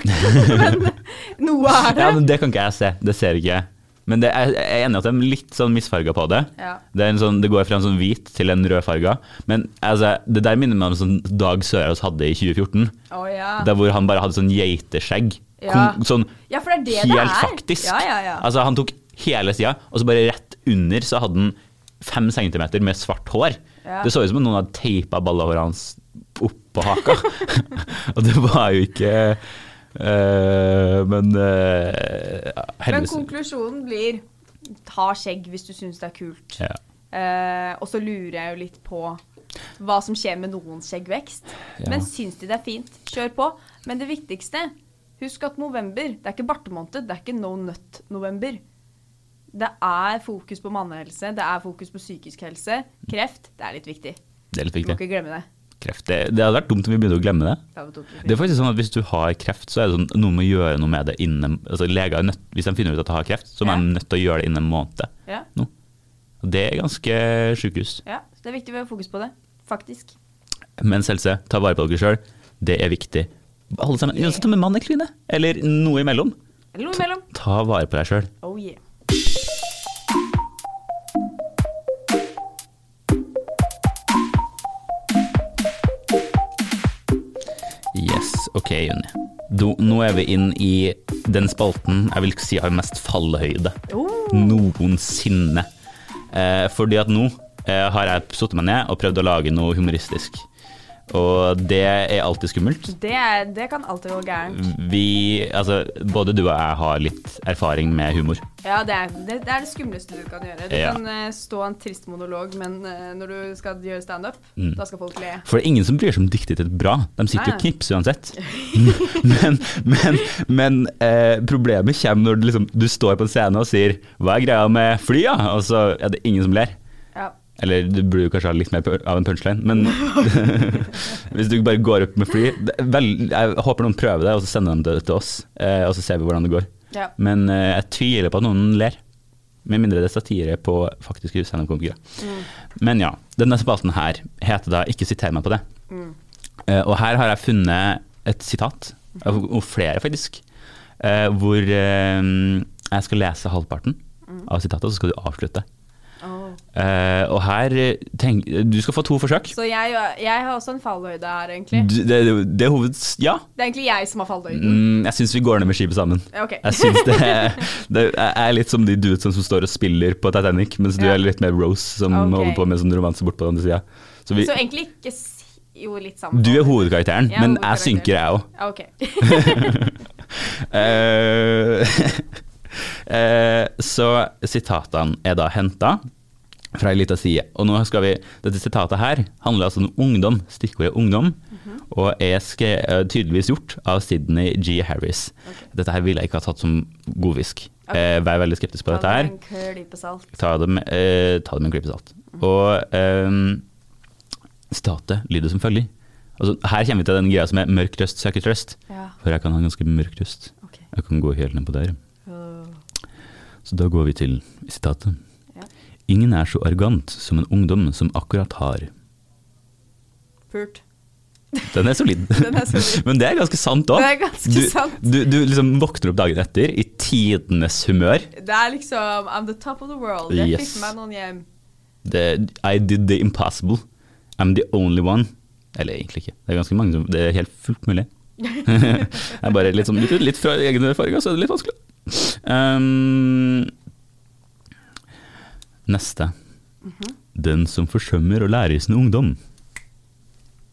Speaker 1: [laughs]
Speaker 2: [laughs] men noe er det.
Speaker 1: ja, men Det kan ikke jeg se. Det ser ikke jeg. Men det, jeg jeg er enig i at de er litt sånn misfarga på det.
Speaker 2: Ja.
Speaker 1: Det, er en sånn, det går fra en sånn hvit til en rødfarga. Men altså, det der minner meg om sånn Dag Sørås hadde i 2014.
Speaker 2: Å ja.
Speaker 1: Der hvor han bare hadde sånn geiteskjegg.
Speaker 2: Ja.
Speaker 1: Kon- Sånn
Speaker 2: ja, for det er det
Speaker 1: helt
Speaker 2: det er.
Speaker 1: faktisk.
Speaker 2: Ja, ja, ja.
Speaker 1: Altså, han tok hele sida, og så bare rett under så hadde han fem centimeter med svart hår.
Speaker 2: Ja.
Speaker 1: Det så ut som om noen hadde teipa ballehåret hans opp på haka. [laughs] og det var jo ikke eh, Men eh,
Speaker 2: Men
Speaker 1: heldigvis
Speaker 2: konklusjonen blir ta skjegg hvis du syns det er kult.
Speaker 1: ja.
Speaker 2: Eh, og så lurer jeg jo litt på hva som skjer med noens skjeggvekst.
Speaker 1: Ja.
Speaker 2: Men syns de det er fint, kjør på. Men det viktigste, husk at november, det er ikke bartemåned, det er ikke no nut-november. Det er fokus på mannehelse, det er fokus på psykisk helse. Kreft, det er litt viktig.
Speaker 1: Det er litt
Speaker 2: Du må
Speaker 1: viktig.
Speaker 2: ikke glemme det.
Speaker 1: Kreft. Det, det hadde vært dumt om vi begynte å glemme det.
Speaker 2: Det hadde vært dumt.
Speaker 1: Det er faktisk sånn at Hvis du har kreft, så er det sånn, noe med å gjøre noe med det innen altså leger er nødt, Hvis de finner ut at de har kreft, så
Speaker 2: Ja.
Speaker 1: er de nødt til å gjøre det innen en måned.
Speaker 2: Ja,
Speaker 1: nå. Og Det er ganske sjukehus.
Speaker 2: ja, så det er viktig å ha fokus på det. Faktisk.
Speaker 1: Mens helse, ta vare på dere sjøl. Det er viktig. Alle sammen,
Speaker 2: Yeah.
Speaker 1: Uansett om det er mann eller kvinne, eller noe imellom.
Speaker 2: Eller noe imellom.
Speaker 1: Ta vare på deg sjøl.
Speaker 2: Oh yeah.
Speaker 1: Yes, ok, Juni. Do, nå er vi inn i den spalten jeg vil si har mest fallhøyde
Speaker 2: Oh.
Speaker 1: noensinne. Eh, fordi at nå eh, har jeg satt meg ned og prøvd å lage noe humoristisk. Og det er alltid skummelt.
Speaker 2: Det, er, det kan alltid gå gærent.
Speaker 1: Vi, altså, både du og jeg har litt erfaring med humor.
Speaker 2: Ja, det er det, det er det skumleste du kan gjøre. Du
Speaker 1: Ja.
Speaker 2: kan eh, stå en trist monolog, men eh, når du skal gjøre standup,
Speaker 1: Mm.
Speaker 2: da skal folk le.
Speaker 1: For det er ingen som bryr seg om diktet ditt bra. De sitter jo
Speaker 2: Nei, nei.
Speaker 1: og knipser uansett. [laughs] Men, men, men eh, problemet kommer når du, liksom, du står på en scene og sier 'hva er greia med flya?' og så er det ingen som ler.
Speaker 2: Ja.
Speaker 1: Eller du burde jo kanskje ha litt mer pu- av en punchline, men [laughs] hvis du bare går opp med fly det er vel, Jeg håper noen prøver det, og så sender de det til oss. eh, Og så ser vi hvordan det går.
Speaker 2: Ja.
Speaker 1: Men eh, jeg tviler på at noen ler. Med mindre det er satire på faktiske standup-komikere. Men ja. Denne spalten her heter da 'Ikke siter meg på det'. Eh, og her har jeg funnet et sitat, og og flere faktisk, eh, hvor eh, jeg skal lese halvparten av sitatet, og så skal du avslutte.
Speaker 2: Åh.
Speaker 1: Eh, og her eh, tenk, Du skal få to forsøk.
Speaker 2: Så jeg, jeg har også en fallhøyde her, egentlig.
Speaker 1: Du- Det, det, det er hoved... Ja.
Speaker 2: Det er egentlig jeg som har fallhøyden.
Speaker 1: Mm, jeg syns vi går ned med skipet sammen.
Speaker 2: Ja, Ok.
Speaker 1: Jeg synes
Speaker 2: [laughs]
Speaker 1: det, er- det er litt som de dudesene som står og spiller på Titanic, mens du
Speaker 2: Ja.
Speaker 1: er litt mer Rose som
Speaker 2: Ok. Altså,
Speaker 1: holder på med sånn romanse bort på den andre sida. Så vi,
Speaker 2: Så egentlig ikke si Jo, litt sammen.
Speaker 1: du er hovedkarakteren,
Speaker 2: Jeg er
Speaker 1: men
Speaker 2: hovedkarakteren.
Speaker 1: jeg synker, jeg òg.
Speaker 2: Ja, Ok.
Speaker 1: [laughs] Eh, så sitatene er da henta fra ei lita side. Og nå skal vi, dette sitatet her handler altså om ungdom, stikkordet ungdom, og er skre- eh, tydeligvis gjort av Sydney G. Harris. Dette her ville jeg ikke ha tatt som godfisk.
Speaker 2: Ok.
Speaker 1: Eh, vær veldig skeptisk på [laughs] dette her.
Speaker 2: En klype salt.
Speaker 1: Ta det med, eh, ta det med en klype salt. Og ehm, sitatet lyder som følger. Altså, her kommer vi til den greia som er mørk røst søker trøst.
Speaker 2: Ja,
Speaker 1: For jeg kan ha ganske mørk røst.
Speaker 2: ok.
Speaker 1: Jeg kan gå helt ned på der.
Speaker 2: Øh,
Speaker 1: Så da går vi til sitatet.
Speaker 2: Ja.
Speaker 1: Ingen er så arrogant som en ungdom som akkurat har.
Speaker 2: Pult.
Speaker 1: Den er solid.
Speaker 2: [laughs] Den er solid.
Speaker 1: [laughs] Men det er ganske sant
Speaker 2: Det
Speaker 1: òg.
Speaker 2: er ganske
Speaker 1: Du,
Speaker 2: sant.
Speaker 1: du, du liksom våkner opp dagen etter i tidenes humør.
Speaker 2: Det er liksom I'm the top of the world. Jeg
Speaker 1: Yes.
Speaker 2: fikk meg noen hjem.
Speaker 1: Det, I did the impossible. I'm the only one. Eller egentlig ikke. Det er ganske mange som Det er helt fullt mulig. [laughs] det er bare litt, sånn, litt, litt fra egen erfaring, så er det litt vanskelig. Um, neste. Den som forsømmer å lære i sin ungdom.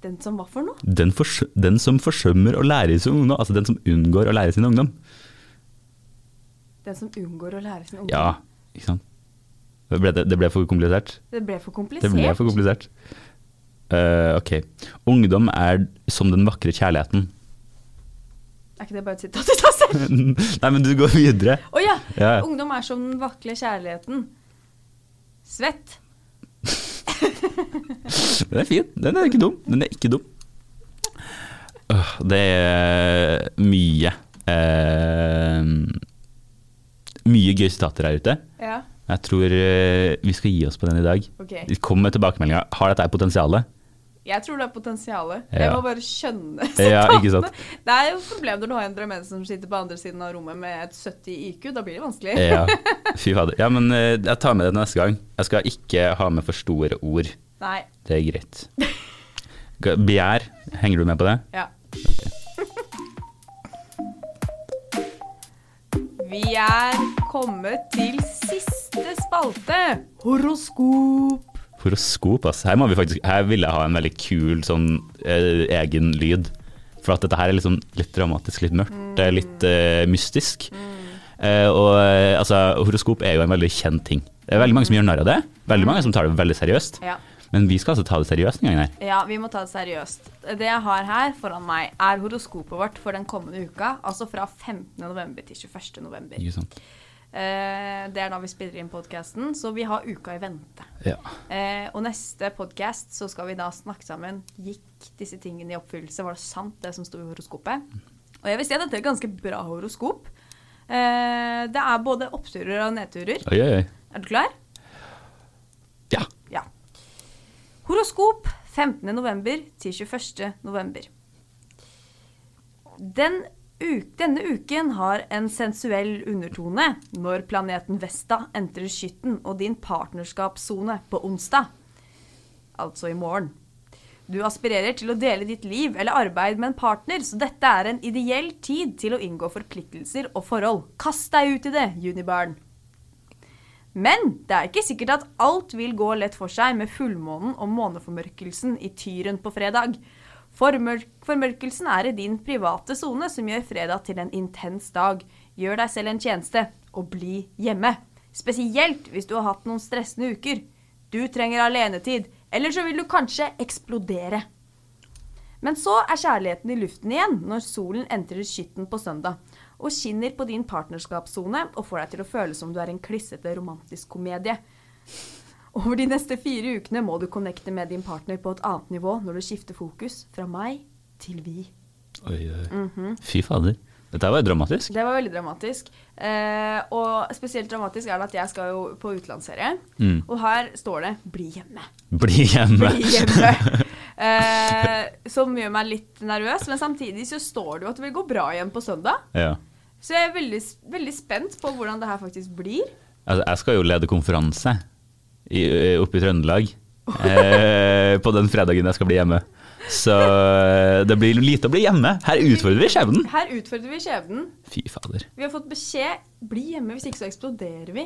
Speaker 2: Den som var for noe?
Speaker 1: Den, forsø den som forsømmer å lære i sin ungdom. Altså den som unngår å lære i sin ungdom.
Speaker 2: Den som unngår å lære sin ungdom.
Speaker 1: Ja, ikke sant? Det ble, det ble for komplisert.
Speaker 2: Det ble for
Speaker 1: Det
Speaker 2: komplisert.
Speaker 1: ble for komplisert. Eh, ok. Ungdom er som den vakre kjærligheten. [laughs]
Speaker 2: Er ikke det bare et sitat i seg selv?
Speaker 1: Nei, men du går videre.
Speaker 2: Å ja.
Speaker 1: Ja, ja.
Speaker 2: Ungdom er som den vakle kjærligheten. Svett.
Speaker 1: Den er fin. Den er ikke dum. Den er ikke dum. Åh, det er mye eh, Mye gøye sitater her ute.
Speaker 2: Ja,
Speaker 1: Jeg tror eh, vi skal gi oss på den i dag.
Speaker 2: ok.
Speaker 1: Kom med tilbakemeldinger. Har dette her potensialet?
Speaker 2: Jeg tror det er potensialet. Jeg
Speaker 1: Ja.
Speaker 2: må bare skjønne
Speaker 1: Ja, ikke sant?
Speaker 2: sitatene. Det er jo et problem når du har en drammenser som sitter på andre siden av rommet med et 70 i IQ. Da blir det vanskelig.
Speaker 1: Ja, fy fader. Ja, men eh, jeg tar med det til neste gang. Jeg skal ikke ha med for store ord.
Speaker 2: Nei.
Speaker 1: Det er greit. G- Begjær, henger du med på det? [laughs]
Speaker 2: Ja. Vi er kommet til siste spalte. Horoskop.
Speaker 1: Horoskop, ass. Her, må vi faktisk, her vil jeg ha en veldig kul sånn eh, egen lyd. For at dette her er liksom litt dramatisk, litt mørkt,
Speaker 2: Mm.
Speaker 1: det er litt eh, mystisk. Eh, og eh, altså, horoskop er jo en veldig kjent ting. Det er veldig mange som gjør narr av det. Veldig mange som tar det veldig seriøst.
Speaker 2: Ja.
Speaker 1: Men vi skal altså ta det seriøst en gang her.
Speaker 2: Ja, vi må ta det seriøst. Det jeg har her foran meg, er horoskopet vårt for den kommende uka. Altså fra 15. november til 21. november.
Speaker 1: Ikke sant?
Speaker 2: Eh, det er da vi spiller inn podkasten, så vi har uka i vente.
Speaker 1: Ja.
Speaker 2: Eh, og neste podkast så skal vi da snakke sammen. Gikk disse tingene i oppfyllelse? Var det sant, det som sto i horoskopet? Og jeg vil si at dette er et ganske bra horoskop. Eh, det er både oppturer og nedturer.
Speaker 1: Oi, oi, oi.
Speaker 2: Er du klar?
Speaker 1: Ja.
Speaker 2: Ja. Horoskop 15. november til 21. november. Den u- denne uken har en sensuell undertone når planeten Vesta entrer skytten og din partnerskapssone på onsdag. Altså i morgen. Du aspirerer til å dele ditt liv eller arbeid med en partner, så dette er en ideell tid til å inngå forpliktelser og forhold. Kast deg ut i det, junibarn! Men det er ikke sikkert at alt vil gå lett for seg med fullmånen og måneformørkelsen i Tyren på fredag. Formør formørkelsen er i din private sone, som gjør fredag til en intens dag. Gjør deg selv en tjeneste. å bli hjemme. Spesielt hvis du har hatt noen stressende uker. Du trenger alenetid, eller så vil du kanskje eksplodere. Men så er kjærligheten i luften igjen når solen entrer skytten på søndag og skinner på din partnerskapssone og får deg til å føle som du er en klissete romantisk komedie. Over de neste fire ukene må du connecte med din partner på et annet nivå når du skifter fokus fra meg til vi.
Speaker 1: Oi, oi.
Speaker 2: Mhm.
Speaker 1: Fy fader. Dette var jo dramatisk.
Speaker 2: Det var veldig dramatisk. Eh, og spesielt dramatisk er det at jeg skal jo på utenlandsserie.
Speaker 1: Mm.
Speaker 2: Og her står det 'bli hjemme'. [laughs]
Speaker 1: Bli hjemme.
Speaker 2: Bli hjemme. Eh, som gjør meg litt nervøs, men samtidig så står det jo at det vil gå bra igjen på søndag.
Speaker 1: [laughs] ja.
Speaker 2: Så jeg er veldig, veldig spent på hvordan det her faktisk blir.
Speaker 1: Altså, jeg skal jo lede konferanse i, oppe i Trøndelag eh, på den fredagen jeg skal bli hjemme. Så eh, det blir lite å bli hjemme. Her utfordrer vi skjebnen.
Speaker 2: Her utfordrer vi skjebnen.
Speaker 1: Fy fader.
Speaker 2: Vi har fått beskjed 'bli hjemme, hvis ikke så eksploderer vi'.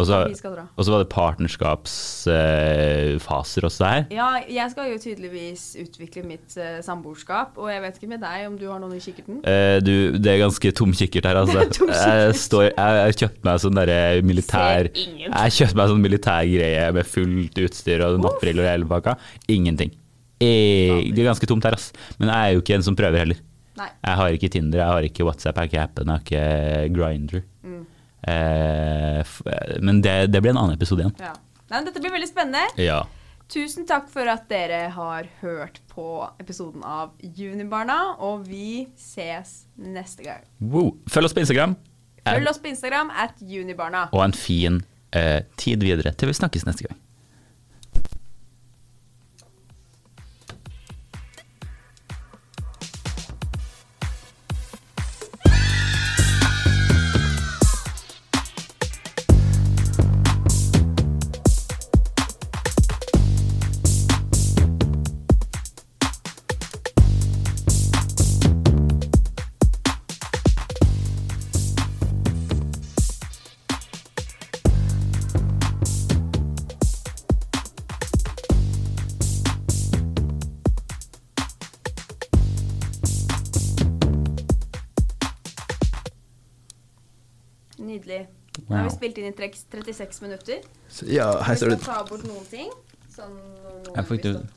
Speaker 1: Og så
Speaker 2: Vi skal dra.
Speaker 1: og så var det partnerskapsfaser eh, faser også her.
Speaker 2: Ja, jeg skal jo tydeligvis utvikle mitt eh, samboerskap, og jeg vet ikke med deg om du har noen i kikkerten?
Speaker 1: Eh, du, det er ganske tom kikkert her, altså.
Speaker 2: Det er [laughs] tom
Speaker 1: Jeg,
Speaker 2: kikkert.
Speaker 1: står, jeg, jeg kjøpte meg sånn derre militær
Speaker 2: Ser ingen.
Speaker 1: Jeg kjøpte meg sånn militær greie med fullt utstyr og nattbriller og hele pakka. Ingenting. Eh, det er ganske tomt her, ass. Men jeg er jo ikke en som prøver heller.
Speaker 2: Nei.
Speaker 1: Jeg har ikke Tinder, jeg har ikke WhatsApp, jeg har ikke appen, jeg har ikke Grinder. eh, men det, det blir en annen episode igjen.
Speaker 2: Ja. Nei, men dette blir veldig spennende.
Speaker 1: Ja.
Speaker 2: Tusen takk for at dere har hørt på episoden av Junibarna, og vi ses neste gang.
Speaker 1: Wow. Følg oss på Instagram, Eh,
Speaker 2: Følg oss på Instagram at junibarna.
Speaker 1: og en fin eh, tid videre til vi snakkes neste gang.
Speaker 2: Nydelig. Nå har
Speaker 1: Wow.
Speaker 2: vi spilt inn i treks 36 minutter.
Speaker 3: Så, ja, her står
Speaker 2: Vi skal
Speaker 3: det
Speaker 2: ta bort noen ting. Sånn noen
Speaker 1: Jeg får ikke-
Speaker 2: vi stoppet